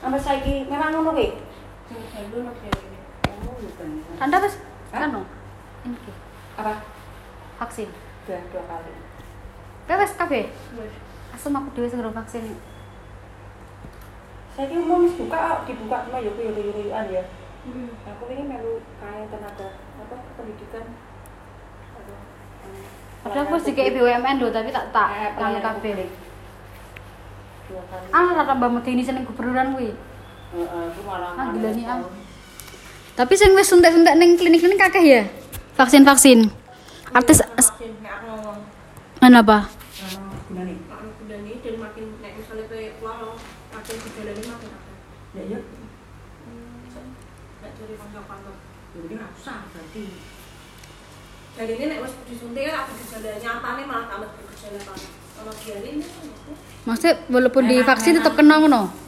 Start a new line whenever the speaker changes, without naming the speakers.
sampai saiki memang ngono kuwi.
Oh, bukan.
Anda wis
Hah?
anu ini ki,
Apa?
vaksin.
Dua, dua kali.
Kowe wis kabeh? Asem aku dhewe sing ngerung vaksin.
Saiki umum wis buka kok, dibuka cuma yo kuwi yuyuan ya. Aku ini melu kaya tenaga apa pendidikan. Apa, em,
Padahal aku wis
pelayanan
dikei
publik.
BUMN lho, tapi tak tak
Eh,
nang
pelayanan
kabeh.
publik. Dua kali.
Ah, rata Mbak Medeni seneng gubernuran kuwi.
Heeh, Eh, aku malah
Ah,
malah
gila nih, ah.
tahu.
Tapi sing wis suntik-suntik ning klinik-klinik kakeh ya. Vaksin-vaksin. Artis
vaksin nek aku ngomong
anu apa?
Nah, gimana nih?
makin budani dan makin nek misalnya kayak keluar makin gejalanya makin apa
Ya, ya.
nggak dari kantor-kantor
Ya, ini nggak usah, berarti.
dan ini nek wis disuntik kan aku gejala nyatane malah tambah bergejala parah kalau biarin ya, aku
Maksudnya walaupun divaksin tetap kena ngono.